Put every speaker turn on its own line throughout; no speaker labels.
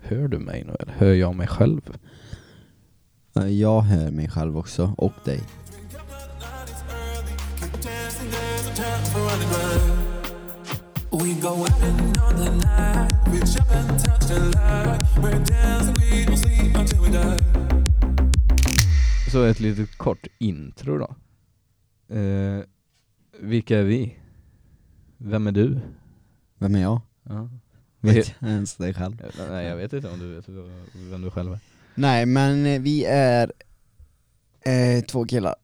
Hör du mig nu eller hör jag mig själv?
Eh, Jag hör mig själv också, och dig.
We go out and on the night. We jump and touch the light. We're dancing, we don't sleep until we die.
Så ett litet kort intro då. Eh, vilka är vi? Vem är du?
Vem är jag?
Ja. Vi-
Vet jag ens dig själv?
Nej jag vet inte om du vet vem du själv är.
Nej men eh, vi är eh, två killar.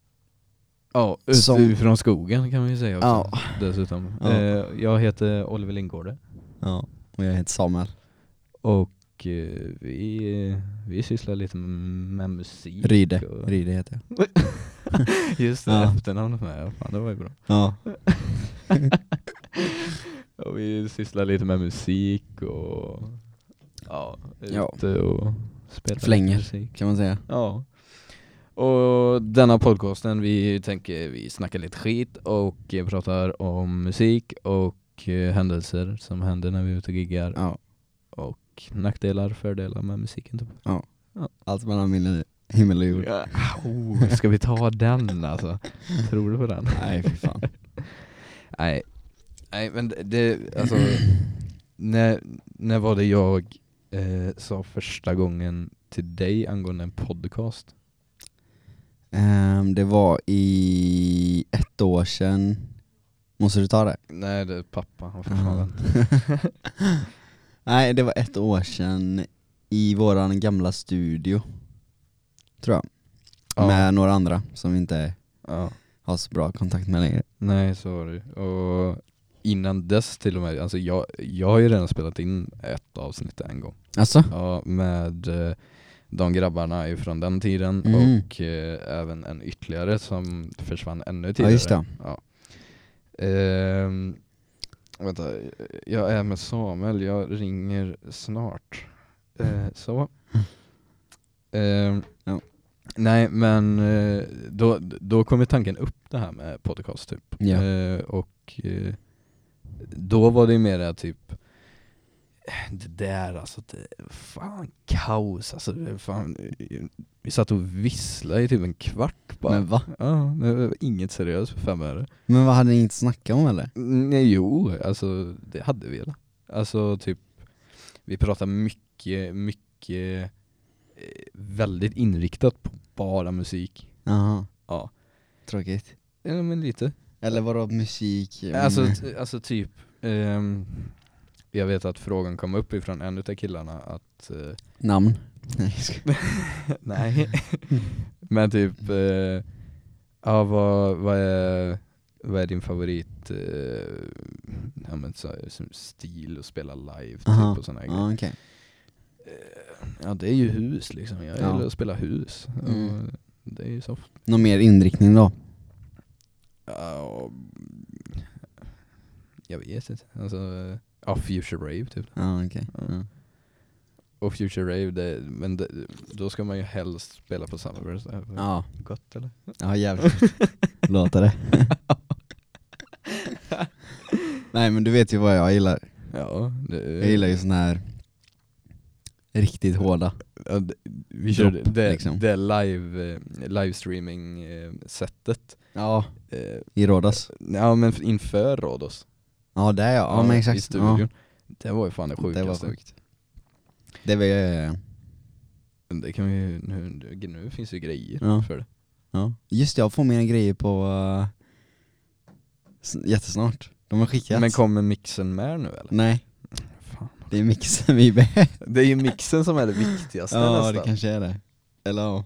Ja,
Som-
utifrån skogen kan man ju säga också,
Ja.
dessutom.
Ja.
Eh, jag heter Oliver Lindgårde
Ja. Och jag heter Samuel.
och eh, vi, vi sysslar lite med musik.
Ryde.
Och,
Ryde heter jag.
Just det,
Ja.
efternamnet med. Ja, Fan, det var ju bra.
Ja.
Och vi sysslar lite med musik och ja,
Ja.
ute och spelar lite
Flänger.
musik.
Kan man säga.
Ja. Och denna podcasten, vi tänker vi snackar lite skit och eh, pratar om musik och eh, händelser som händer när vi är ute och giggar.
Ja.
Och nackdelar, fördelar med musiken typ.
Allt mellan min himmel och jord.
Ja. Oh, ska vi ta den alltså? Tror du på den?
Nej för fan.
Nej. Nej men det- det, alltså när, när var det jag eh, sa första gången till dig angående en podcast?
Ehm, det var i ett år sedan. Måste du ta det?
Nej det är pappa, han får fan vänta.
Nej det var ett år sedan i våran gamla studio. Tror jag.
Ja.
Med några andra som vi inte
Ja.
har så bra kontakt med längre.
Nej så var det ju. Och innan dess till och med, alltså jag, jag har ju redan spelat in ett avsnitt en gång.
Alltså?
Ja, med eh, de grabbarna ifrån den tiden
Mm.
och eh, även en ytterligare som försvann ännu
Ja
tidigare.
just det.
Ehm, vänta, jag är med Samuel, jag ringer snart. Eh, så. Ehm,
Ja.
Nej men eh, då, då kom ju tanken upp det här med podcast typ.
Ja.
Eh, och eh, då var det ju mera typ det där alltså, det, fan kaos alltså, det, fan, vi satt och visslade i typ en kvart bara.
Men va?
Ja, det var inget seriöst för fem öre.
Men vad hade ni inte snackat om eller?
Nej, jo, alltså det hade vi väl. Alltså typ, vi pratar mycket, mycket, eh, väldigt inriktat på bara musik.
Jaha.
Ja.
Tråkigt.
Ja men lite.
Eller vadå musik? mm,
Alltså, t- alltså typ, ehm, jag vet att frågan kom upp ifrån en utav killarna att, eh,
namn? Nej jag skojar.
nej, men typ, eh, ja vad, vad är, vad är din favorit, eh, ja, men, så, här, som stil att spela live
Aha.
typ och sådana här grejer.
Ja okej.
Ja det är ju hus liksom, jag
Mm. Ja.
gillar att spela hus. Och
Mm.
Det är ju soft.
Någon mer inriktning då?
Ja, och- jag vet inte, alltså, ja Future Rave typ.
Ja okej. Ja.
Och Future Rave, det, men det, då ska man ju helst spela på Summerburst.
Ja.
Gott eller?
Ja jävligt Låter det Nej men du vet ju vad jag gillar,
Ja, det,
jag gillar ju såna här riktigt hårda
ja, det, vi körde
dropp,
det,
liksom.
det live, eh, livestreaming eh, setet.
Ja,
Eh,
i Rådas
Ja men inför Rhodos.
Ja det är jag, ja, men
I
exakt ja,
studion. Det var ju fan det sjukaste.
Det var sjukt Det var ju,
Men Det kan vi ju, nu, nu- nu finns det ju grejer
Ja.
för det.
ja Just det, jag får mina grejer på eh, s- jättesnart, de har skickats
Men kommer mixen med nu eller?
Nej,
Fan.
det är mixen vi behöver
Det är ju mixen som är det viktigaste
Ja
nästan.
det kanske är det, eller ja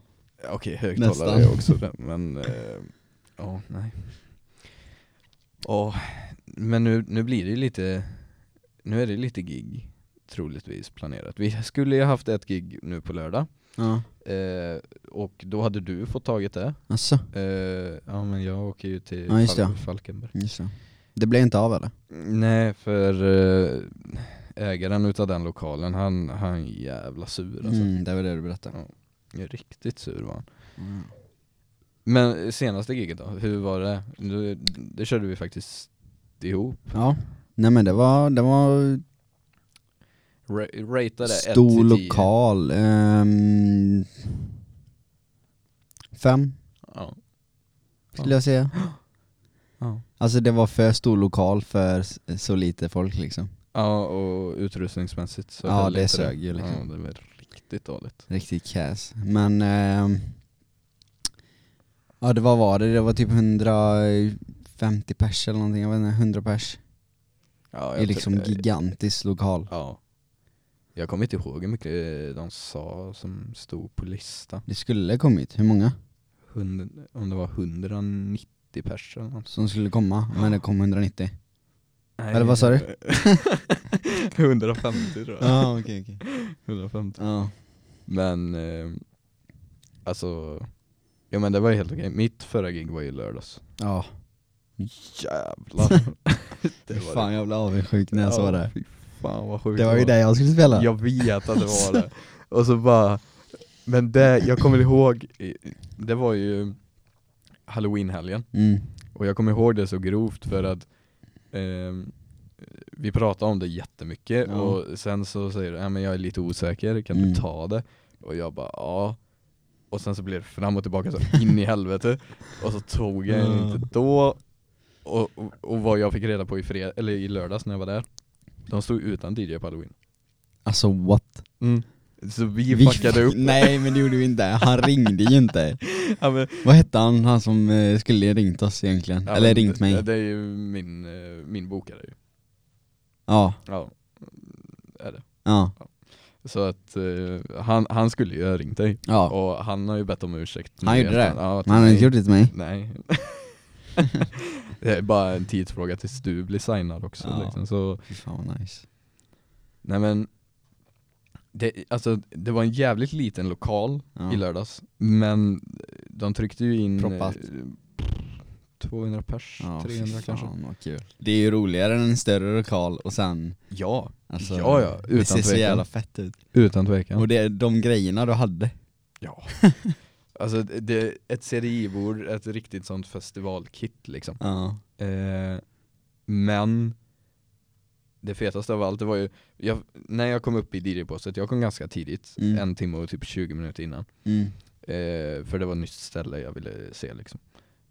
Okej, högtalare
Nästan.
är också det, men eh, ja, nej. Ja, men nu, nu blir det ju lite, nu är det lite gig troligtvis planerat. Vi skulle ju haft ett gig nu på lördag
Ja,
eh, och då hade du fått tagit det.
alltså,
Eh, ja men jag åker ju till
Ja, just det.
Fal- Falkenberg.
just det Det blev inte av eller?
Nej, för eh, ägaren utav den lokalen, han, han är jävla sur alltså.
Mm, det var det du berättade
Riktigt sur var han.
Mm.
Men eh, senaste giget då, hur var det? Du, det körde vi faktiskt ihop.
Ja, nej men det var, det var
Ra- ratea det 1
Stor
till 10.
lokal. ehm, fem,
Ja.
skulle jag säga.
Ja.
Alltså det var för stor lokal för s- så lite folk liksom.
ja, och utrustningsmässigt så
Ja,
höll
det
inte
sög ju liksom.
Ja, det var riktigt dåligt.
Riktigt kass. Men... ehm, ja det var var det, det var typ 150 pers eller någonting, jag vet inte, 100 pers.
Ja,
I liksom gigantisk lokal.
Ja. Jag kommer inte ihåg hur mycket de sa som stod på listan.
Det skulle kommit, hur många
Hund, om det var 190 personer. något.
som skulle komma, men det kom 190.
Nej,
Eller vad sa du?
150 tror jag.
Ja Ah, okej okej.
150.
Ja.
Men, eh, alltså, ja men det var ju helt okej. Mitt förra gig var ju lördags.
Ja.
Jävlar.
Fy fan jag blev avundsjuk när jag såg det.
Fy fan vad sjukt
Det var ju det jag skulle spela.
Jag vet att det var det. Och så bara, men det, jag kommer ihåg, det var ju halloweenhelgen.
Mm.
Och jag kommer ihåg det så grovt för att ehm, vi pratade om det jättemycket
Ja.
och sen så säger du, "Ja, men jag är lite osäker, kan
Mm.
du ta det? Och jag bara ja Och sen så blir det fram och tillbaka så in i helvete Och så tog jag den
Ja.
inte då och, och, och vad jag fick reda på i, fred- eller i lördags när jag var där De stod utan DJ på halloween
Alltså what?
Så vi, fuckade upp
Nej men det gjorde vi inte, han ringde ju inte.
ja, men,
Vad hette han, han som eh, skulle ringt oss egentligen?
ja,
Eller
men
ringt
det-
mig.
Det, det är ju min, eh, min bokare ju
Ja,
Ja, är det
ja,
Så att eh, han, han skulle ju ha ringt dig
ja.
och han har ju bett om ursäkt nu
Han gjorde
i efterhand.
det?
Ja, till
Men han har
mig.
inte gjort det till mig.
Nej Det är bara en tidsfråga tills du blir signad också
Ja.
liksom. så,
Fy fan vad nice.
nej men det, alltså, det var en jävligt liten lokal
Ja.
i lördags Men de tryckte ju in eh,
Proppat.
200 pers,
Ja, fy
300 kanske
fan, vad kul. Det är ju roligare än en större lokal och sen
Ja,
alltså,
Ja, ja,
Det
utan
ser så
tvekan.
jävla fett ut.
utan tvekan
Och det är de grejerna du hade.
Ja Alltså det- det, ett CDI-bord, ett riktigt sånt festivalkit liksom
Ja.
Eh, men det fetaste av allt, det var ju, jag, när jag kom upp i DJ-båset, jag kom ganska tidigt,
Mm.
en timme och typ 20 minuter innan.
Mm.
Eh, för det var ett nytt ställe jag ville se liksom.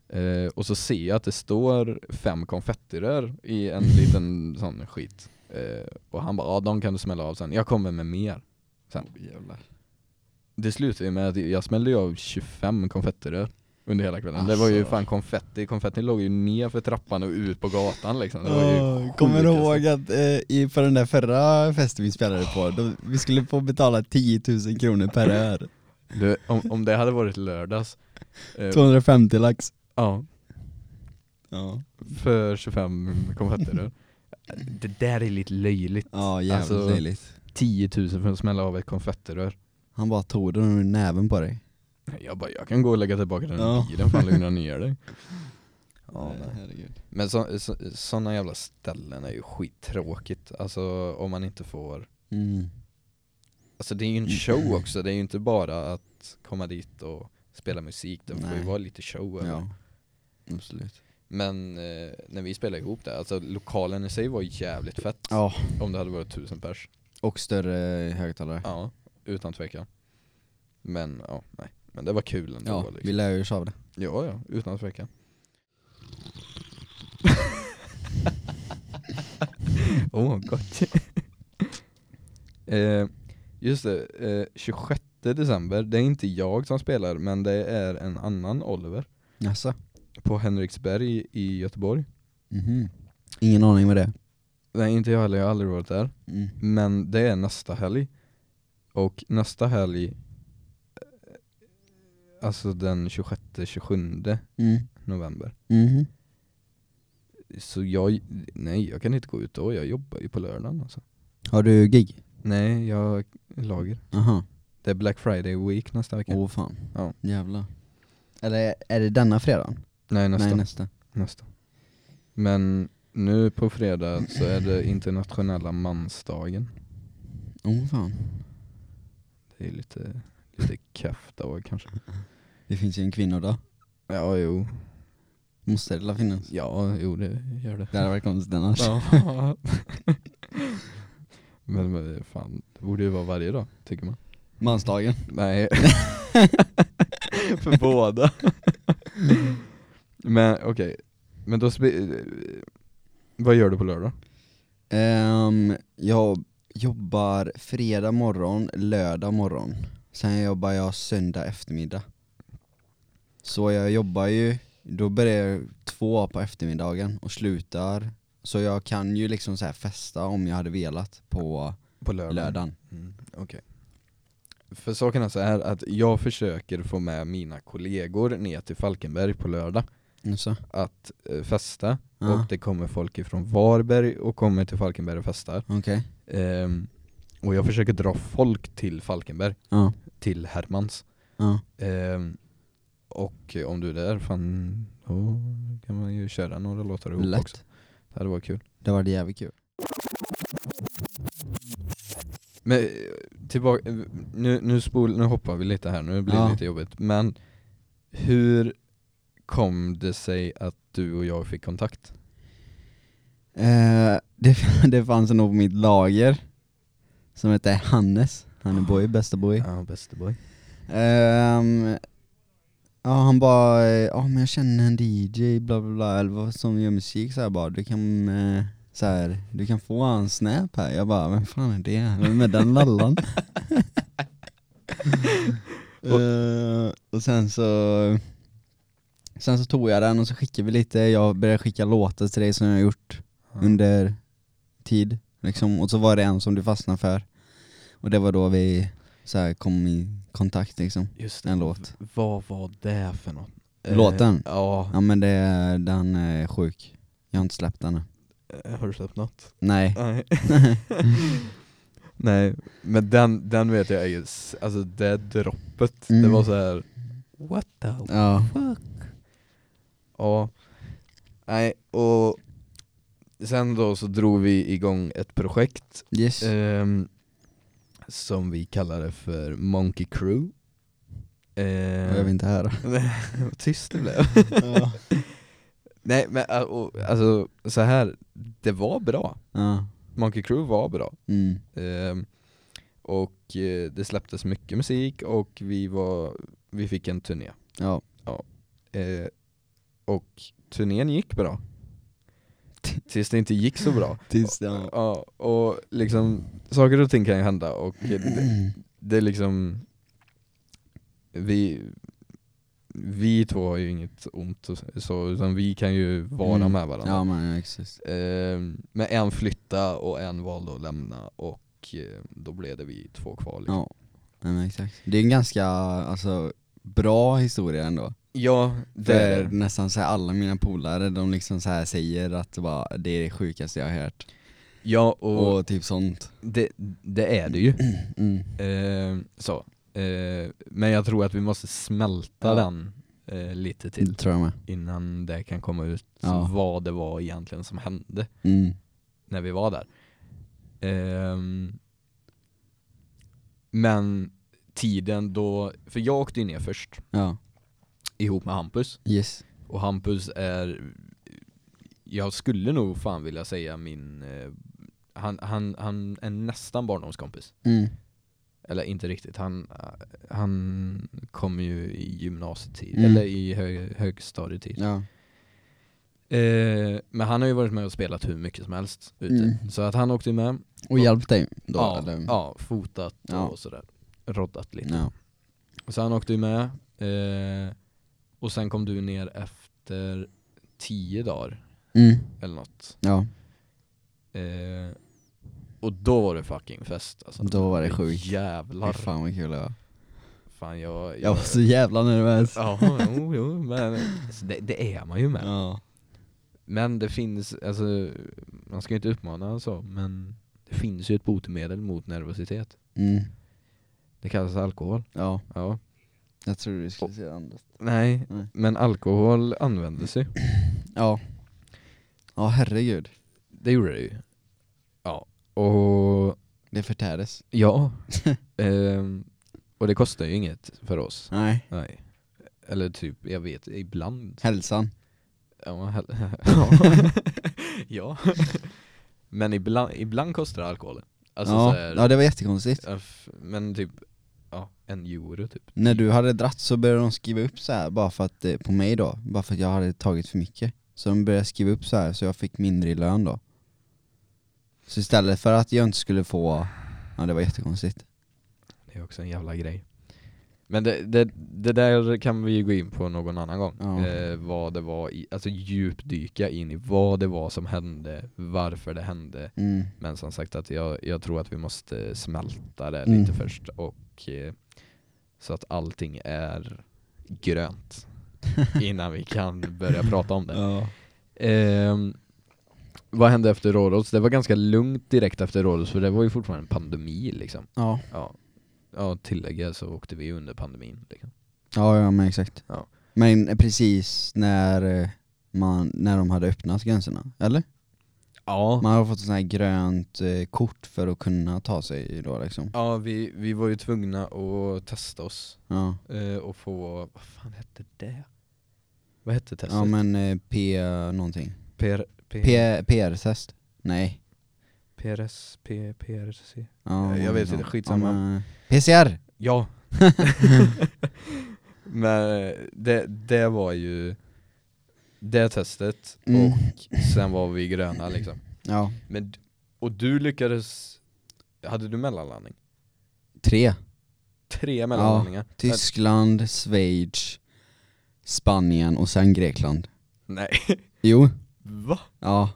Eh, och så ser jag att det står fem konfettirör i en liten sån skit. Eh, och han bara, ja de kan du smälla av sen, jag kommer med mer. Sen. Det slutade ju med att jag smällde ju av 25 konfettirör under hela kvällen. Det var ju
Alltså.
fan konfetti, konfetti låg ju ner för trappan och ut på gatan liksom. Det var ju alltså.
Åh, Kommer du
sjukaste.
ihåg att eh, i, på den där förra festen vi spelade på, då, vi skulle få betala 10 000 kronor per öl.
Du, om, om det hade varit lördags, eh,
250 lax.
ja,
Ja,
för 25 konfettirör. Det där är lite löjligt.
ja jävligt
Alltså-
löjligt.
10 000 för att smälla av ett konfettirör.
Han bara tog den ur näven på dig.
Jag bara, jag kan gå och lägga tillbaka den
Ja.
i bilen fan lugna ner dig. Ja,
Eh,
nej.
herregud.
Men sådana så, såna jävla ställen är ju skittråkigt, alltså om man inte får
Mm.
Alltså det är ju en show också, det är ju inte bara att komma dit och spela musik, det får ju
Nej.
vara lite show över.
Ja, absolut.
Men eh, när vi spelade ihop det, alltså lokalen i sig var ju jävligt fett
Ja,
Om det hade varit tusen pers
och större högtalare.
Ja, utan tvekan Men ja, nej Men det var kul ändå
Ja, vi
liksom.
lär ju oss av det.
Ja, ja, utan tvekan Åh, oh, gott eh, Just det, eh, 26 december, det är inte jag som spelar men det är en annan Oliver
Jaså?
På Henriksberg i Göteborg
Mhm. Ingen aning vad det är.
Nej inte jag heller, jag har aldrig varit där
Mm.
Men det är nästa helg Och nästa helg eh, Alltså den 26-27
Mm.
november
Mhm.
Så jag, nej jag kan inte gå ut då, jag jobbar ju på lördagen alltså
Har du gig?
Nej jag lager
Aha.
Det är Black Friday week nästa vecka
Åh oh, fan.
Ja.
Jävlar. Eller är det denna fredagen?
Nej nästa,
Nej nästa.
nästa Men nu på fredag så är det internationella mansdagen
Åh oh, fan.
Det är lite, lite kefft då kanske
Det finns ju en kvinnodag.
Ja jo,
Måste det la finnas?
ja jo det gör det
Det hade varit konstigt annars.
Ja. Men, men fan, det borde ju vara varje dag, tycker man
Mansdagen.
Nej För båda Men okej, men då spe- eh, Vad gör du på lördag?
Ehm, jag jobbar fredag morgon, lördag morgon. Sen jobbar jag söndag eftermiddag. Så jag jobbar ju, då börjar jag två på eftermiddagen och slutar. Så jag kan ju liksom så här festa om jag hade velat på
På lördag?
lördagen.
Mm, Okej För saken är så här att jag försöker få med mina kollegor ner till Falkenberg på lördag
Så.
att eh, festa
Ja,
och det kommer folk ifrån Varberg och kommer till Falkenberg och festar
okej.
Ehm, Och jag försöker dra folk till Falkenberg,
Ja,
till Hermans
ja.
Ehm, och om du är där, fan, då kan man ju köra några låtar ihop
Lätt.
också. Det hade varit kul.
Det var jävligt kul.
Men eh, tillbaka, eh, nu, nu, spol, nu hoppar vi lite här, nu blir det
Ja.
lite jobbigt. Men hur kom det sig att du och jag fick kontakt?
Eh, det, det fanns en på mitt lager som hette Hannes. Han är boy, bästa boy.
Ja, bäste boy.
Ehm, ja han bara, eh, ja men jag känner en DJ bla bla bla, eller vad som gör musik så här bara, du kan eh, så här, du kan få en snap här, jag bara vem fan är det? Vem är den lallan? Eh, och sen så Sen så tog jag den och så skickade vi lite, jag började skicka låtar till dig som jag har gjort
Ja.
under tid liksom, och så var det en som du fastnade för Och det var då vi så här kom i kontakt liksom
Just
en låt.
V- Vad var det för något? Eh,
Låten?
Ja,
Ja men det, är- den är sjuk. Jag har inte släppt den än.
Eh, har du släppt något?
Nej.
Nej. Nej, men den, den vet jag är ju, s- alltså det droppet, det
Mm.
var så här. What the
Ja.
fuck? Ja, nej och sen då så drog vi igång ett projekt
Yes.
ehm, som vi kallade för Monkey Crew Ehm,
jag vill inte höra.
Vad tyst det blev Nej men äh, och, alltså så här det var bra,
Ja.
Monkey Crew var bra
Mm.
Ehm, och eh, det släpptes mycket musik och vi var, vi fick en turné.
Ja.
Eh, och turnén gick bra. Tills det inte gick så bra.
Tills det
Ja, och liksom saker och ting kan ju hända och det, det är liksom vi, vi två har ju inget ont och så, utan vi kan ju vara
Mm.
med varandra.
Ja men ja, exakt.
Ehm, Men en flytta och en valde att lämna och eh, då blev det vi två kvar liksom.
Ja. Nej, men exakt. Det är en ganska, alltså bra historia ändå.
Ja, det är
För
det.
nästan så här alla mina polare, de liksom så här säger att bara, det är det sjukaste jag har hört.
Ja, och,
Och typ sånt.
Det, det är det ju.
Mm.
Ehm, så. Ehm, men jag tror att vi måste smälta
Ja.
den eh, lite
Det
till
tror jag med.
innan det kan komma ut
Ja.
vad det var egentligen som hände
Mm.
när vi var där. Ehm, men tiden då, för jag åkte ju ner först
Ja.
ihop med Hampus.
Yes.
Och Hampus är, jag skulle nog fan vilja säga min, eh, han, han, han är nästan barndomskompis.
Mm.
Eller inte riktigt, han, eh, han kom ju i gymnasietid,
Mm.
eller i hö, högstadietid.
Ja.
Eh, men han har ju varit med och spelat hur mycket som helst ute.
Mm.
Så att han åkte ju med,
Och hjälpt dig då
ja,
eller?
ja, fotat
Ja.
och sådär, roddat lite.
Ja.
Så han åkte ju med, eh, och sen kom du ner efter tio dagar
Mm.
eller något.
Ja,
Eh, och då var det fucking fest alltså.
då var det sjukt. Fy
Jävlar. Fan,
Fan vad kul det var.
jag, jag,
Jag var så jävla nervös.
Ja, jo, jo, men alltså, det, det är man ju med.
Ja.
Men det finns, alltså, man ska ju inte uppmana så, men det finns ju ett botemedel mot nervositet.
Mm.
Det kallas alkohol.
Ja,
Ja.
jag tror du skulle säga andra.
Nej,
Nej.
men alkohol användes ju.
Ja. Ja herregud.
Det gjorde det ju. Ja. Och,
Det förtärdes.
ja. Ehm, och det kostar ju inget för oss.
Nej.
Nej. Eller typ, jag vet, ibland.
Hälsan.
Ja, hell- ja. ja. Men ibland, ibland kostar alkoholen. Alltså så
ja.
här,
ja det var jättekonstigt.
ja, f- Men typ, ja, en euro typ
När du hade dratt så började de skriva upp så här bara för att, eh, på mig då, bara för att jag hade tagit för mycket. Så de började skriva upp så här så jag fick mindre i lön då. Så istället för att jag inte skulle få, ja det var jättekonstigt.
Det är också en jävla grej Men det, det, det där kan vi ju gå in på någon annan gång
Ja.
eh, Vad det var i, alltså djupdyka in i vad det var som hände, varför det hände
Mm.
Men som sagt att jag, jag tror att vi måste smälta det
Mm.
lite först och eh, Så att allting är grönt Innan vi kan börja prata om det
Ja.
Ehm, Vad hände efter Rhodos? Det var ganska lugnt direkt efter Rhodos för det var ju fortfarande en pandemi liksom
Ja,
Ja, ja tillägga så åkte vi under pandemin liksom.
ja, ja men exakt.
Ja.
Men precis när eh, man, när de hade öppnat gränserna, eller?
Ja,
Man har fått sån här grönt eh, kort för att kunna ta sig då liksom.
ja vi, vi var ju tvungna att testa oss
Ja,
eh, och få, vad fan hette det? Vad hette testet?
ja men eh, P någonting.
PR, P,
P- PR-test? Nej.
PRS, P, PRC?
Ja,
Jag vet inte,
ja,
skitsamma.
men, eh, PCR!
Ja! Men eh, det, det var ju det testet
Mm.
och sen var vi gröna liksom.
Ja,
Men, d- och du lyckades, hade du mellanlandning?
tre.
Tre mellanlandningar?
Tyskland, Schweiz, Spanien och sen Grekland.
Nej,
Jo,
va?
ja.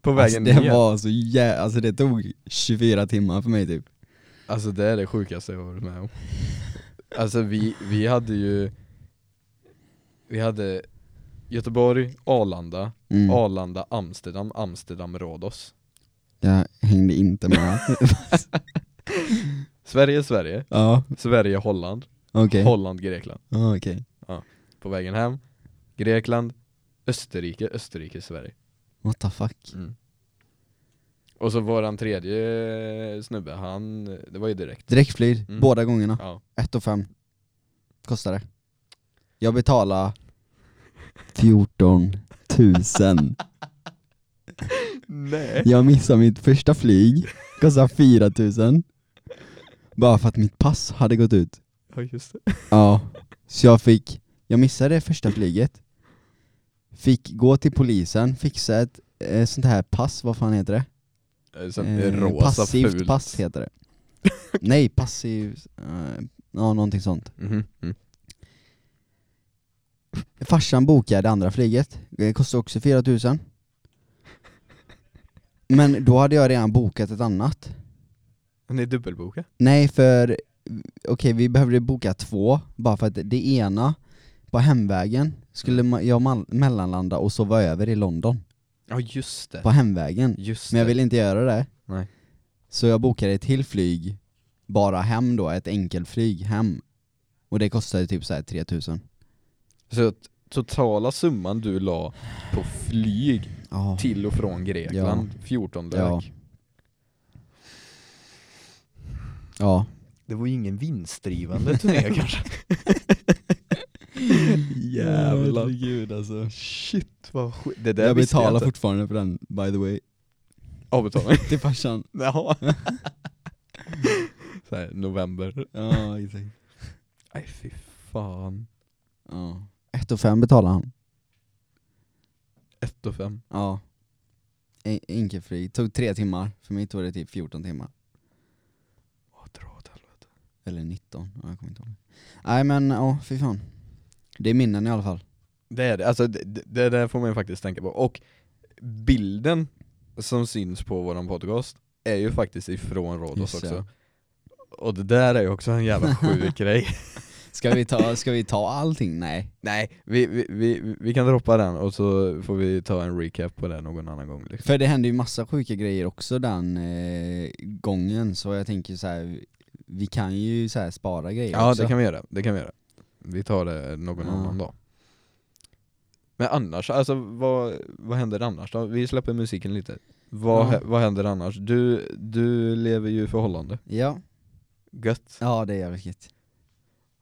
På
Alltså,
vägen
det
ner?
var så jä... Alltså det tog 24 timmar för mig typ.
Alltså det är det sjukaste jag har varit med om Alltså vi, vi hade ju Vi hade Göteborg, Arlanda,
Mm.
Arlanda, Amsterdam, Amsterdam, Rhodos
Jag hängde inte med.
Sverige, Sverige,
ja,
Sverige, Holland,
okej.
Holland, Grekland
Ja, Okej.
På vägen hem, Grekland, Österrike, Österrike, Sverige
What the fuck?
Och så våran tredje eh, snubbe, han, det var ju direkt
Direktflyg,
Mm.
båda gångerna.
Ja,
1 och 5 kostar det. Jag betalar 14 000.
nej
Jag missade mitt första flyg, kostar 4 000. Bara för att mitt pass hade gått ut.
Ja just det
Ja, så jag fick, jag missade det första flyget. Fick gå till polisen, fixa ett eh, sånt här pass, vad fan heter det?
Eh, Sånt
Eh,
rosa
passivt
fult
pass heter det. Nej, passivt, eh, ja någonting sånt.
Mhm, mm.
Farsan bokade andra flyget, det kostade också 4000 Men då hade jag redan bokat ett annat
Ni dubbelbokade?
Nej för, okej vi behövde boka två, bara för att det ena, på hemvägen, skulle ma- jag mal- mellanlanda och sova över i London
Ja just det
På hemvägen,
Just
men jag
det.
ville inte göra det
Nej.
Så jag bokade ett till flyg, bara hem då, ett enkelflyg hem Och det kostade typ såhär 3000
Så att totala summan du la på flyg
Ja,
till och från Grekland, 14 lök.
Ja. ja
Det var ju ingen vinstdrivande turné kanske. Jävlar.
Herregud alltså
Shit vad skit. Det där
jag
visste
betalar
jag inte.
fortfarande för den by the way,
Avbetalning.
till farsan
Jaha. Så här, november.
Ja exakt
Nej fy fan.
Ja, 1 fem betalar han
ett och fem
Ja En- Enkelflyg, tog tre timmar, för mig tog det typ 14 timmar
Åh dra åt helvete.
Eller 19, ja, jag kommer inte ihåg Nej men ja, fy fan Det är minnen i alla fall
Det är det, alltså det, det, det där får man ju faktiskt tänka på. Och bilden som syns på våran podcast är ju faktiskt ifrån Rhodos
Just det.
också. Och det där är ju också en jävla sjuk grej.
Ska vi ta, ska vi ta allting? Nej
Nej, vi, vi, vi, vi kan droppa den och så får vi ta en recap på det någon annan gång liksom.
För det hände ju massa sjuka grejer också den eh, gången, så jag tänker så här. Vi kan ju så här spara grejer
Ja
också.
det kan vi göra, det kan vi göra. Vi tar det någon
Ja.
annan dag. Men annars, alltså vad, vad händer annars då? Vi släpper musiken lite. Vad,
Ja.
hä- vad händer annars? Du, du lever ju i förhållande.
Ja,
Gött.
ja det är jävligt gött.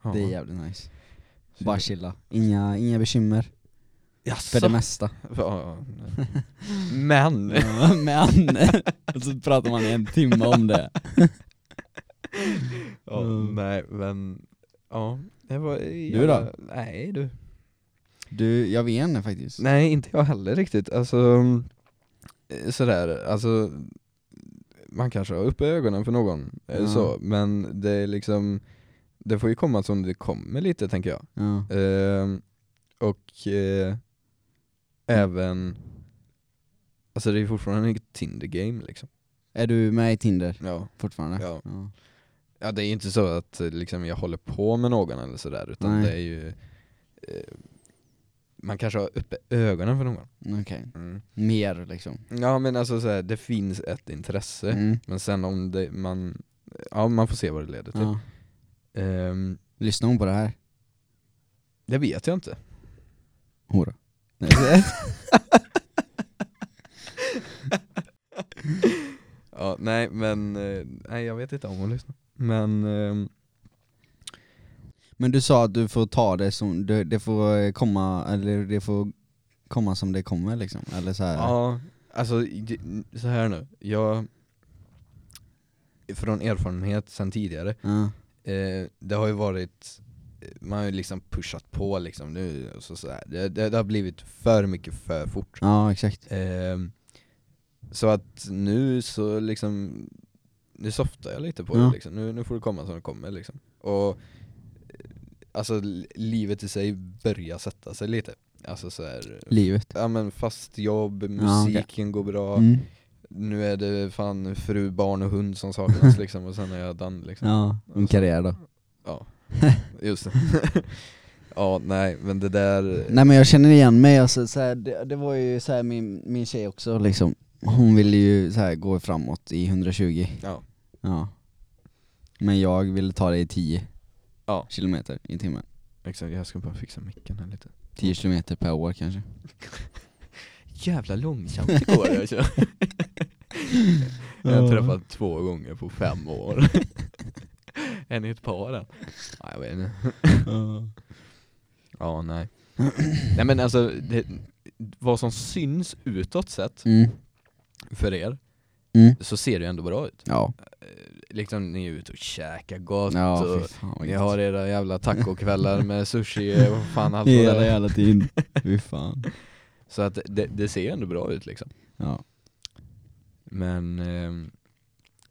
Ja.
Det är jävligt nice.
Så-
Bara chilla, inga, inga bekymmer för
Jaså?
det mesta.
Ja, nej. Men,
Ja, Men, och så pratar man i en timme om det.
ja,
Mm.
nej men, ja. Det var,
Du då?
Nej du.
Du, jag vet inte faktiskt.
Nej, inte jag heller riktigt. Alltså, mm, eh, sådär, alltså man kanske har uppe ögonen för någon, eh,
Ja.
så, men det är liksom det får ju komma som det kommer lite tänker jag.
Ja.
Ehm, och eh, även, alltså det är fortfarande inget Tinder game liksom.
Är du med i Tinder
Ja.
fortfarande?
Ja. ja, det är inte så att eh, liksom, jag håller på med någon eller sådär, utan
Nej.
det är ju eh, man kanske har uppe ögonen för någon.
Okej,
Mm.
mer liksom.
Ja men alltså så här, det finns ett intresse,
Mm.
men sen om det, man, ja man får se vad det typ- leder till.
Ja.
Ehm,
Lyssnar hon på det här?
det vet jag inte.
Hora. Nej, det-
Ja, nej men, eh, nej jag vet inte om hon lyssnar. Men, ehm,
Men du sa att du får ta det som, det, det får eh, komma, eller det får komma som det kommer liksom, eller så här.
ja, alltså det- så här nu, jag, från erfarenhet sen tidigare,
Ja.
eh, det har ju varit man har ju liksom pushat på liksom nu och så, så här. Det, det, det har blivit för mycket för fort
ja, exakt.
Ehm, Så att nu så liksom Nu softar jag lite på
Ja.
det liksom. nu, nu får det komma som det kommer liksom Och eh, Alltså li- livet i sig börjar sätta sig lite Alltså så här,
Livet.
Ja men fast jobb,
Ja, okej.
musiken går bra
Mm.
Nu är det fan fru, barn och hund som saknas liksom och sen är jag done liksom
Ja, en karriär då.
Eh. Ja, just det Ja nej men det där
Nej men jag känner igen mig, alltså, så här, det, det var ju så här, min, min tjej också liksom Hon ville ju så här, gå framåt i 120
Ja.
ja. Men jag ville ta det i 10
Ja.
kilometer i timmen
Exakt, jag ska bara fixa micken här lite
10 kilometer per år kanske
jävla långsamt det går jag kör. Jag har träffat två gånger på fem år. en i ett par än. Ja, jag vet inte. Ja, nej. nej men alltså, det, vad som syns utåt sett
mm.
för er,
Mm.
så ser det ju ändå bra ut.
Ja,
Liksom ni är ute och käkar gott
ja fy
och
fan vad
ni
gött.
Alltså, har era jävla tacokvällar med sushi och fan allt vad
Alltså, Hela
det är.
jävla tiden, fy fan
Så att det, det ser ju ändå bra ut liksom.
Ja,
Men ehm,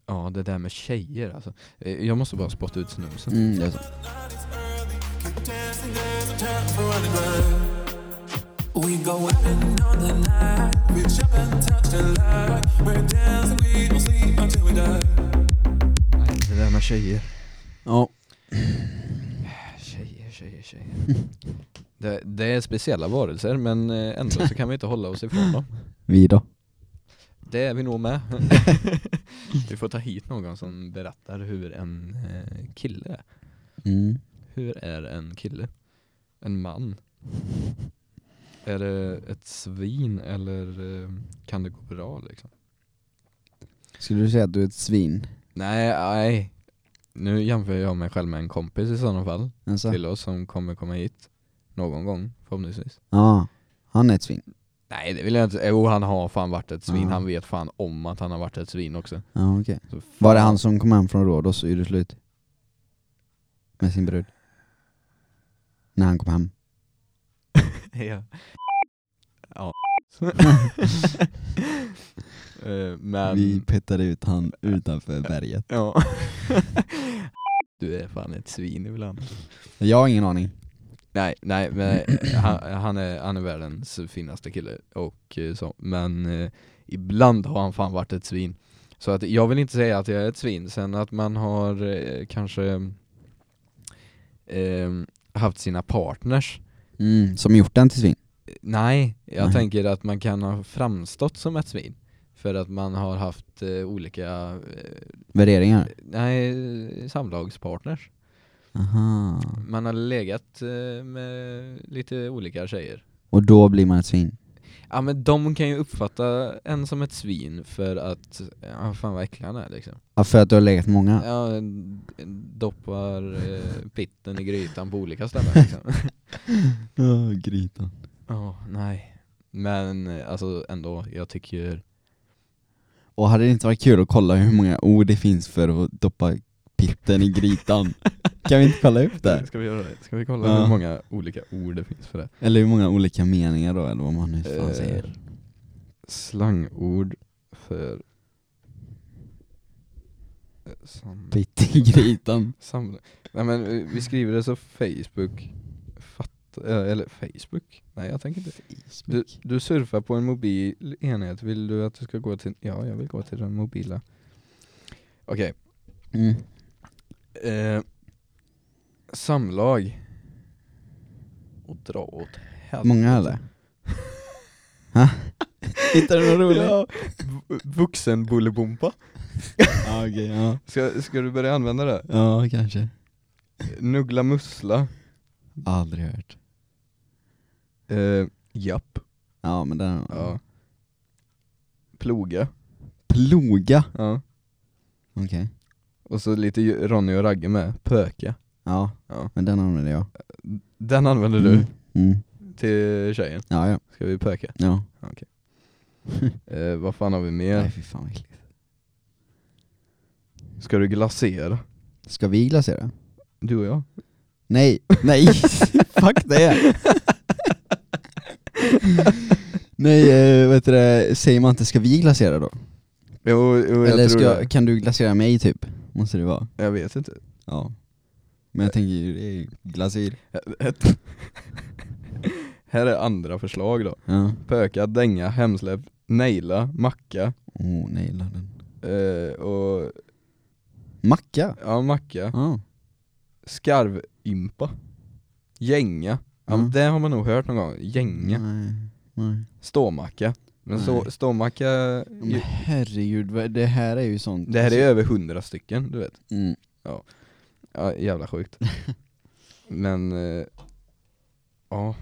ja, det där med tjejer alltså. Eh, Jag måste bara spotta ut snusen.
mm, det är så.
We go out and on the night. We jump and touch the light. We're dancing, we don't sleep until we die.
Det där med tjejer.
Ja,
Eh, Tjejer, tjejer, tjejer. Det, det är speciella varelser men eh, ändå så kan vi inte hålla oss ifrån dem.
vi då?
Det är vi nog med. vi får ta hit någon som berättar hur en eh, kille är.
Mm.
Hur är en kille? En man? Är det ett svin eller eh, kan det gå bra liksom?
Skulle du säga att du är ett svin?
Nej, nej. Nu jämför jag mig själv med en kompis i sådana fall
Alltså?
till oss som kommer komma hit någon gång förhoppningsvis.
Ja, han är ett svin
Nej det vill jag inte, jo han har fan varit ett svin,
Ja.
han vet fan om att han har varit ett svin också.
Ja okej
Så fan.
Var det han som kom hem från Rhodos och gjorde slut? Med sin brud? När han kom hem?
ja. ja. Eh,
Ehm.
Men,
petade ut han utanför berget
ja. du är fan ett svin ibland.
Jag har ingen aning
Nej, nej men eh, han, han, är, han är världens finaste kille och eh, så, men eh, ibland har han fan varit ett svin. Så att jag vill inte säga att jag är ett svin, sen att man har eh, kanske eh, haft sina partners.
mm, Som gjort den till svin?
Eh, Nej, jag
Nej.
tänker att man kan ha framstått som ett svin. För att man har haft eh, olika, eh,
Värderingar?
nej, samlagspartners.
Aha
Man har legat eh, med lite olika tjejer.
Och då blir man ett svin?
Ja men de kan ju uppfatta en som ett svin för att, ja fan vad äcklig han är liksom
Ja, för att du har legat med många?
Ja, en- en doppar eh, pitten i grytan på olika ställen liksom
Ja, grytan
Ja, nej. Men eh, alltså ändå, jag tycker
Och hade det inte varit kul att kolla hur många ord det finns för att doppa pitten i grytan? kan vi inte kolla upp det?
Ska vi göra det? Ska vi kolla
Ja.
hur många olika ord det finns för det?
Eller hur många olika meningar då, eller vad man nu fan
Eh,
säger
Slangord för eh, sam...
Pitt i grytan
sam... Nej men eh, vi skriver det så Facebook fatt... eh, eller Facebook? Nej jag tänker inte Du, du surfar på en mobil enhet, vill du att du ska gå till, ja jag vill gå till den mobila Okej,
Mm.
eh, samlag Och dra åt helvete
Många eller? Ha? Hittar du något roligt?
Ja, vuxenbullebumpa
Ja, okej, ja.
ska, ska du börja använda det?
ja kanske
Nuggla mussla
Aldrig hört
eh, Japp
Ja men den,
ja. Ploga
Ploga,
ja.
okej
Och så lite ju- Ronny och Ragge med, pöka
Ja,
Ja.
men den använder jag
Den använder du
Mm. Mm.
till tjejen,
Ja, ja,
ska vi pöka?
ja
Eh, vad fan har vi
Nej
mer?
fy fan vad äckligt.
Ska du glasera?
Ska vi glasera?
Du och jag?
Nej, nej, fuck det! nej, eh, vet du det, säger man inte ska vi glasera då?
Jo, jo jag
Eller
tror
ska
det.
jag, kan du glasera mig typ? Måste det vara
Jag vet inte.
Ja Men jag tänker ju, det är ju glasyr
Här är andra förslag då.
Ja,
Pöka, dänga, hemsläpp, naila, macka
oh nej den
eh, och,
Macka?
ja macka,
Ja,
skarvympa, gänga. Ja, men
Mm.
det har man nog hört någon gång, gänga,
nej, nej
ståmacka. Men så,
Nej.
ståmacka,
Men herregud, vad- det här är ju sånt
det här är över hundra stycken du vet.
mm.
Ja, jävla sjukt. Men, eh, ja,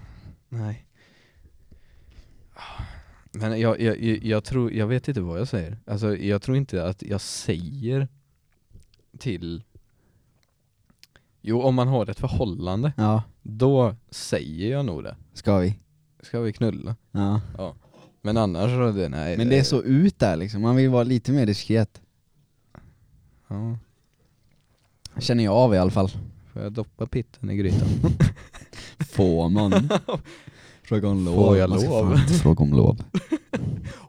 nej. Men jag, jag, jag, jag tror, jag vet inte vad jag säger. Alltså jag tror inte att jag säger till Jo, om man har ett förhållande,
Ja,
då säger jag nog det.
ska vi?
Ska vi knulla?
Ja
Men annars så, det, nej.
Men det är så ut där liksom, man vill vara lite mer diskret
Ja,
Känner jag av i alla fall
får jag doppa pitten i grytan?
Får man? Fråga om lov
Får jag
Man ska
lov?
fan inte fråga om lov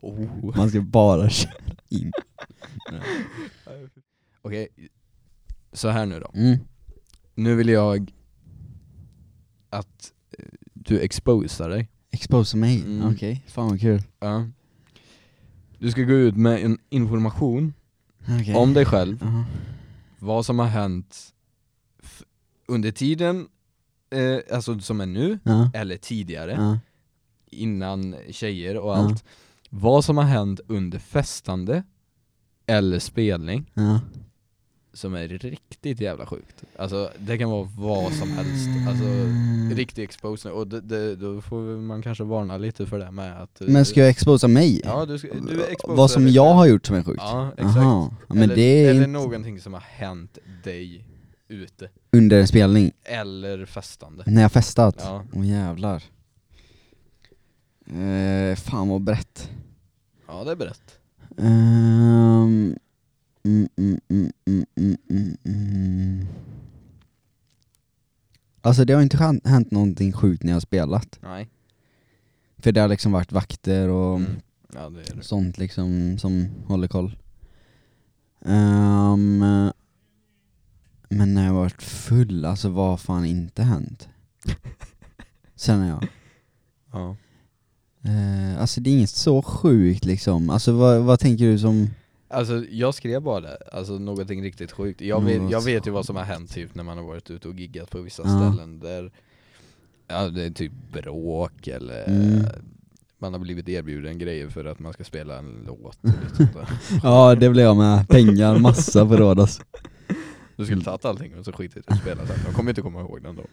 Oh.
Man ska bara köra in
Okej, så här nu då.
mm.
Nu vill jag att eh, du exposar dig.
Expose mig,
Mm.
okej, fan vad kul
Ja. Du ska gå ut med en information
Okej.
om dig själv,
Ja.
vad som har hänt f- under tiden, eh, alltså som är nu,
Ja.
eller tidigare,
Ja.
innan tjejer och
Ja.
allt. Vad som har hänt under festande eller spelning
Ja.
som är riktigt jävla sjukt. Alltså det kan vara vad som helst. Alltså,
Mm.
Riktig expose nu, och det, det, då får man kanske varna lite för det med att eh,
Men ska jag exposa mig?
Ja du, ska, du exposar
Vad som
lite.
jag har gjort som är sjukt?
Ja, exakt
Jaha, men
eller,
det är
eller
inte
någonting som har hänt dig ute,
under en spelning,
eller festande
när jag festat? Åh
Ja,
jävlar eh, Fan vad brett
ja det är brett
Ehm, mm, mm, mm, mm, mm, mm, mm. Alltså det har inte hän- hänt någonting sjukt när jag har spelat
Nej
För det har liksom varit vakter och
mm. Ja det är det
sånt liksom som håller koll. Ehm, men när jag varit full, alltså vad har fan inte hänt? Sen jag.
Ja,
Eh, alltså det är inget så sjukt liksom. Alltså vad, vad tänker du som...
alltså jag skrev bara det, alltså någonting riktigt sjukt Jag
Något
vet, jag vet ju vad som har hänt typ när man har varit ute och giggat på vissa
Mm. Ja.
ställen där Ja det är typ bråk eller
Mm.
man har blivit erbjuden grejer för att man ska spela en låt och lite sånt där.
Ja det blev jag med. Pengar, massa förråd alltså.
Du skulle tagit allting och så skitit i att spela sen, de kommer inte komma ihåg den då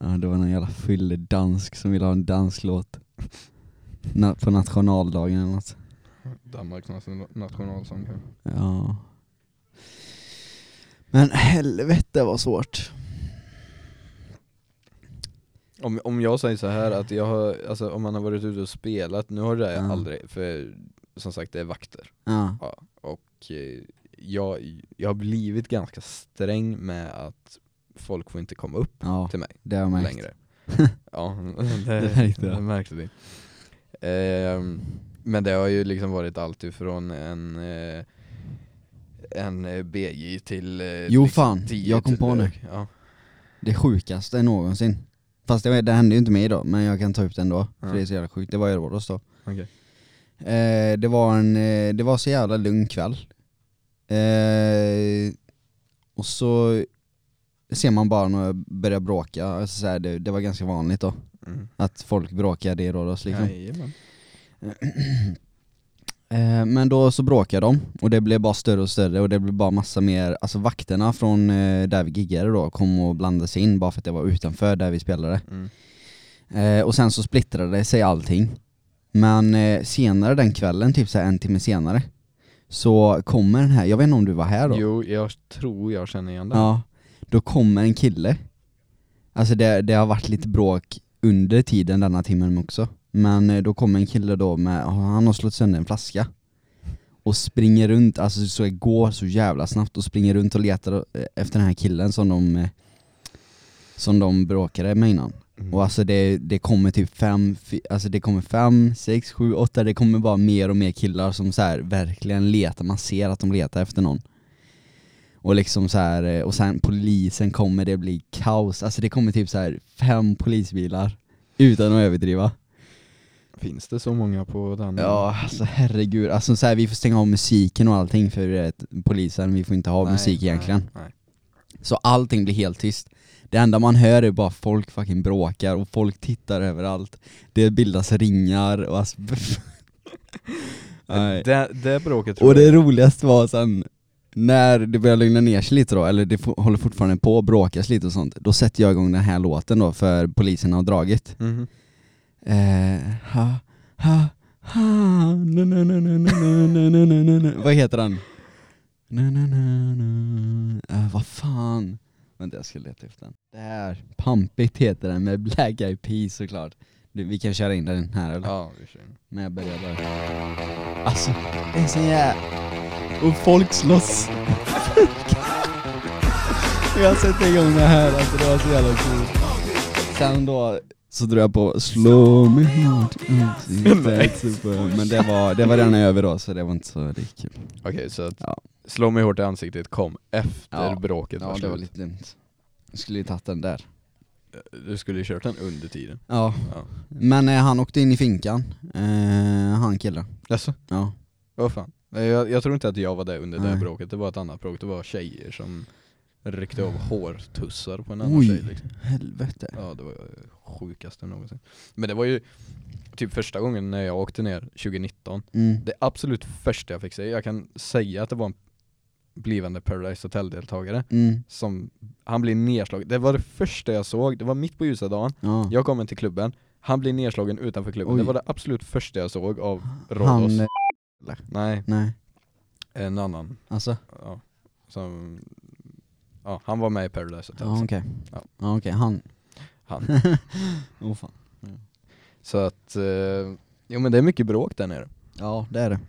Ja det var någon jävla fylledansk som ville ha en dansklåt. Na- på nationaldagen eller något.
Danmarks nation- nationalsång kanske
Ja. Men helvete vad svårt.
Om, om jag säger så här att jag har, alltså om man har varit ute och spelat, nu har det där
Ja.
aldrig, för som sagt det är vakter.
Ja,
Ja, och eh, jag, jag har blivit ganska sträng med att folk får inte komma upp
ja
till mig
det har jag märkt.
längre. Ja, det,
Det märkte jag.
det märkte vi. Ehm, men det har ju liksom varit allt ifrån en eh, en eh, BJ till eh,
Jo,
liksom
fan,
10
jag kom på nu.
till- Ja,
Det sjukaste någonsin. Fast det, det hände ju inte mig idag, men jag kan ta upp det ändå.
Ja.
För det är så jävla sjukt, det var i Rhodos då.
okej.
Eh, det, var en, eh, det var så jävla lugn kväll. Eh, och så ser man bara när jag börjar bråka, alltså så här, det, det var ganska vanligt då.
Mm.
Att folk bråkade i Rhodos liksom.
Jajamän.
Eh, Men då så bråkade de och det blev bara större och större och det blev bara massa mer, alltså vakterna från eh, där vi giggade då kom och blandade sig in bara för att det var utanför där vi spelade.
Mm.
Eh, och sen så splittrade sig allting. Men eh, senare den kvällen, typ så här en timme senare, så kommer den här, jag vet inte om du var här då?
Jo, jag tror jag känner igen det.
Ja, då kommer en kille. Alltså det, det har varit lite bråk under tiden denna timmen också. Men eh, då kommer en kille då med, han har slått sönder en flaska. Och springer runt, alltså så går så jävla snabbt och springer runt och letar eh, efter den här killen som de eh, som de bråkade med innan.
Mm.
Och alltså det, det kommer typ fem, fy- alltså det kommer fem, sex, sju, åtta, det kommer bara mer och mer killar som så här verkligen letar, man ser att de letar efter någon. Och liksom så här, eh, och sen polisen kommer, det blir kaos, alltså det kommer typ så här fem polisbilar. Utan att överdriva.
Finns det så många på den?
Ja alltså herregud, alltså så här, vi får stänga av musiken och allting för eh, polisen, vi får inte ha
Nej,
musik egentligen.
Nej, nej.
Så allting blir helt tyst. Det enda man hör är bara folk fucking bråkar och folk tittar överallt. Det bildas ringar och alltså... Nej.
Det, det bråket tror
Och det
jag.
roligaste var sen när det börjar lugna ner sig lite då, eller det fo- håller fortfarande på att bråkas lite och sånt, då sätter jag igång den här låten då för polisen har dragit.
Mhm.
Eh, ha, ha, ha, na, na, na, na, na, na, na, na, na, na. Vad heter den? Na, na, na, na. Eh, vad fan? Vänta jag ska leta efter den. Där, Pumpit heter den med Black Eyed Peas såklart. Du, vi kan köra in den här eller?
Ja, vi kör.
Men jag börjar bara. Alltså, det är så jävla... Och folk slåss. jag sätter igång det här, alltså det var så jävla coolt. Sen då så drog jag på slå mig hårt ut i ansiktet på- Mm, Men det var, det var redan över då så det var inte så det gick kul.
Okej, så att
Ja.
slå mig hårt i ansiktet kom efter
Ja.
bråket var
Ja det
slut.
var lite dumt. Jag skulle ju tagit den där.
Du skulle ju kört den under tiden.
Ja.
Ja.
Men eh, han åkte in i finkan, eh, han killen.
Alltså,
Ja.
vad fan. Nej, Jag, jag tror inte att jag var där under det här
Nej.
bråket, det var ett annat bråk. Det var tjejer som ryckte av hårtussar på en annan
Mm. Oj.
tjej liksom.
Helvete.
Ja, det var det sjukaste någonsin. Men det var ju typ första gången när jag åkte ner 2019.
Mm.
Det absolut första jag fick säga, jag kan säga att det var en blivande Paradise Hotel-deltagare
Mm.
som, han blir nedslagen. Det var det första jag såg, det var mitt på ljusa dagen,
Ja.
jag kom in till klubben, han blir nedslagen utanför klubben,
Oj.
det var det absolut första jag såg av Rhodos.
Han, eh,
Nej,
nej.
en annan.
Alltså?
Ja, som, ja, han var med i Paradise Hotel.
Ja
så-
okej.
Alltså. Ja.
Ja okej, han.
Han.
Åh fan.
Så att, eh, jo men det är mycket bråk där nere.
Ja det är det.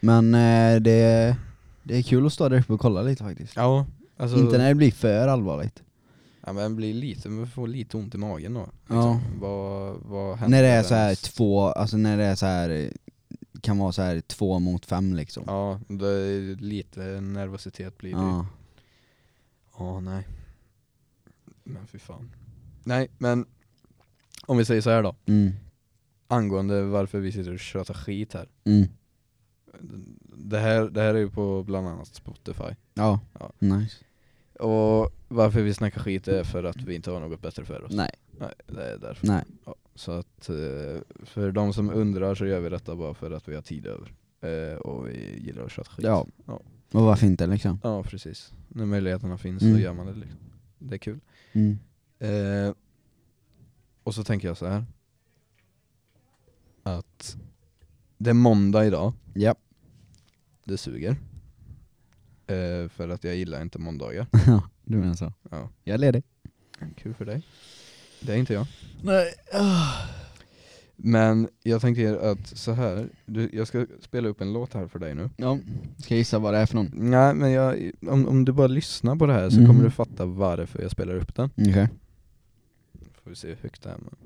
Men eh, det, det är kul att stå där uppe och kolla lite faktiskt.
Ja, alltså,
Inte när det blir för allvarligt.
ja, men blir lite, man får lite ont i magen då. liksom.
Ja.
Vad, vad händer?
Liksom. När det är så här
ens?
två, alltså när det är så här eh, kan vara så här två mot fem liksom.
Ja, det är lite nervositet blir det ju.
Ja.
Ja, nej. Men fy fan. Nej, men om vi säger så här då.
Mm.
Angående varför vi sitter och tjötar skit här.
Mm.
Det här, det här är ju på bland annat Spotify.
Ja.
Ja.
Nice.
Och varför vi snackar skit är för att vi inte har något bättre för oss.
Nej.
Nej, det är därför.
Nej.
Ja, så att eh, för de som undrar så gör vi detta bara för att vi har tid över. Eh, och vi gillar att tjöta skit.
Ja.
Ja.
Och varför inte liksom?
ja, precis. När möjligheterna finns
Mm.
så gör man det liksom. Det är kul.
Mm.
Eh, och så tänker jag så här. Att det är måndag idag,
Ja.
det suger. Eh, för att jag gillar inte måndagar.
du menar så.
Ja.
Jag är ledig.
Kul för dig. Det är inte jag.
Nej.
Men jag tänkte att så här, du, jag ska spela upp en låt här för dig nu.
Ja, ska jag gissa vad det är för någon?
Nej men jag, om, om du bara lyssnar på det här så
Mhm.
kommer du fatta varför jag spelar upp den.
Okej.
Får vi se hur högt det är. men-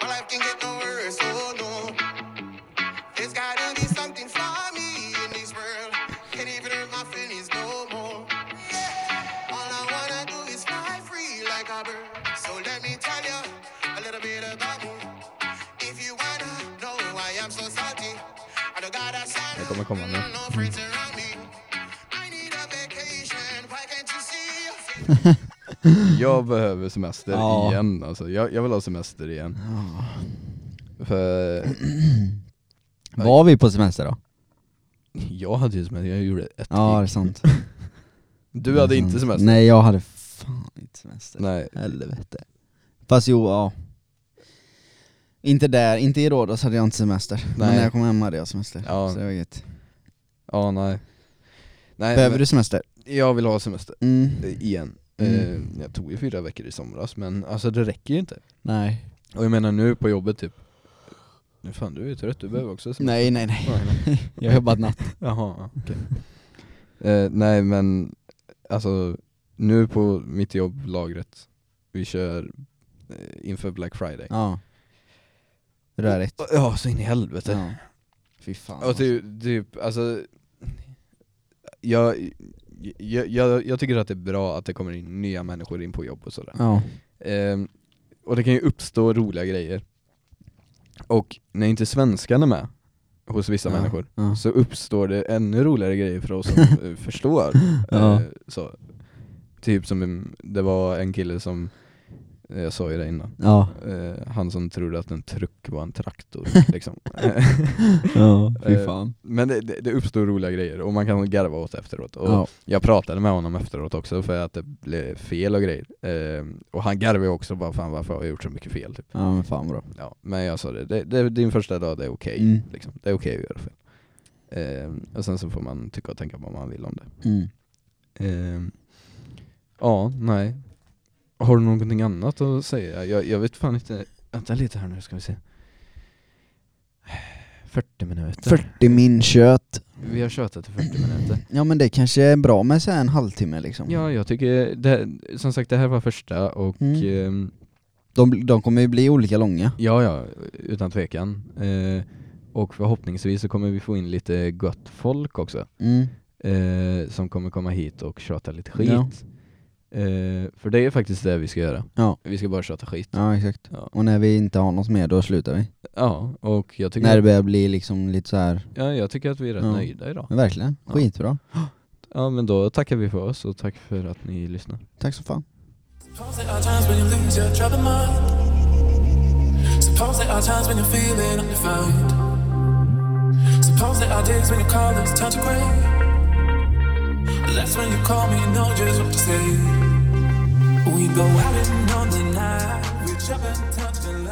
My life can get no worse, oh no. There's gotta be something for me in this world. Can't even hurt my feelings no more. Yeah. All I wanna do is fly free like a bird. So let me tell you a little bit about me. If you wanna know why I'm so salty, I don't got a sign.
Det kommer komma nu.
No friends around me. I need a vacation. Why can't you see?
Jag behöver semester
Ja.
igen alltså. jag, jag vill ha semester igen. För
Var vi på semester då?
jag hade ju semester, jag gjorde ett
Ja, det är
gig.
sant.
Du hade inte semester?
Mm. Nej, jag hade fan inte semester.
Nej.
Helvete. Fast jo, ja. Inte där, inte i Rhodos hade jag inte semester. Men
Nej.
när jag kom hem hade jag semester.
Ja.
Så det var gött.
Ja nej. nej
Behöver
men
du semester?
Jag vill ha semester,
Mm.
eh, igen.
Mm.
Eh, jag tog ju fyra veckor i somras men alltså det räcker ju inte.
Nej.
Och jag menar nu på jobbet typ, nu fan du är ju trött, du behöver också semester.
Nej, nej, nej.
Ja, nej.
Jag har jobbat natt.
Jaha, okej. eh, nej men, alltså nu på mitt jobb, lagret, vi kör eh, inför Black Friday.
Ja. Rörigt.
Ja, så in i helvete.
Ja. Fy fan.
Och typ, typ alltså, jag, jag, jag, jag tycker att det är bra att det kommer in nya människor in på jobb och sådär.
Ja.
Ehm, och det kan ju uppstå roliga grejer. Och när inte svenskan är med hos vissa
ja.
människor
Ja.
så uppstår det ännu roligare grejer för oss som eh, förstår.
Ja.
Eh, så. Typ som en- det var en kille som, eh, jag sa ju det innan,
Ja.
eh, han som trodde att en truck var en traktor liksom.
Ja,
Eh,
fy fan.
Men det, det, det uppstår roliga grejer och man kan garva åt efteråt. Och
Ja.
Jag pratade med honom efteråt också för att det blev fel och grejer. Ehm, och han garvade ju också bara fan varför har jag gjort så mycket fel? Typ.
Ja men fan bra.
Ja, men jag sa det, det, det din första dag det är okej.
Mm.
Liksom. Det är okej att göra fel. Ehm, och sen så får man tycka och tänka vad man vill om det.
Mm.
Ehm, ja, nej. Har du någonting annat att säga? Jag, jag vet fan inte. Vänta lite här nu ska vi se. 40 minuter.
40 min kött.
Vi har tjötat i 40 minuter.
Ja men det kanske är bra med så här en halvtimme liksom.
Ja, jag tycker, det, som sagt det här var första och
Mm.
ehm,
De, de kommer ju bli olika långa.
ja, ja, utan tvekan. Eh, och förhoppningsvis så kommer vi få in lite gott folk också.
Mm.
eh, som kommer komma hit och tjata lite skit.
Ja.
Eh, för det är faktiskt det vi ska göra.
Ja.
Vi ska bara tjata skit.
Ja exakt.
Ja.
Och när vi inte har något mer då slutar vi.
Ja, och jag tycker,
När det börjar bli liksom lite så här.
ja, jag tycker att vi är rätt
Ja.
nöjda idag.
men verkligen,
Ja.
skitbra.
Ja, men då tackar vi för oss och tack för att ni lyssnar.
Tack så fan.
Suppose there are times when you lose your troubled mind. Suppose there are times when you're feeling undefined. Suppose there are days when your colors turn to gray. But That's when you call me and know just what to say. We go out and on the night. We jump and touch the light.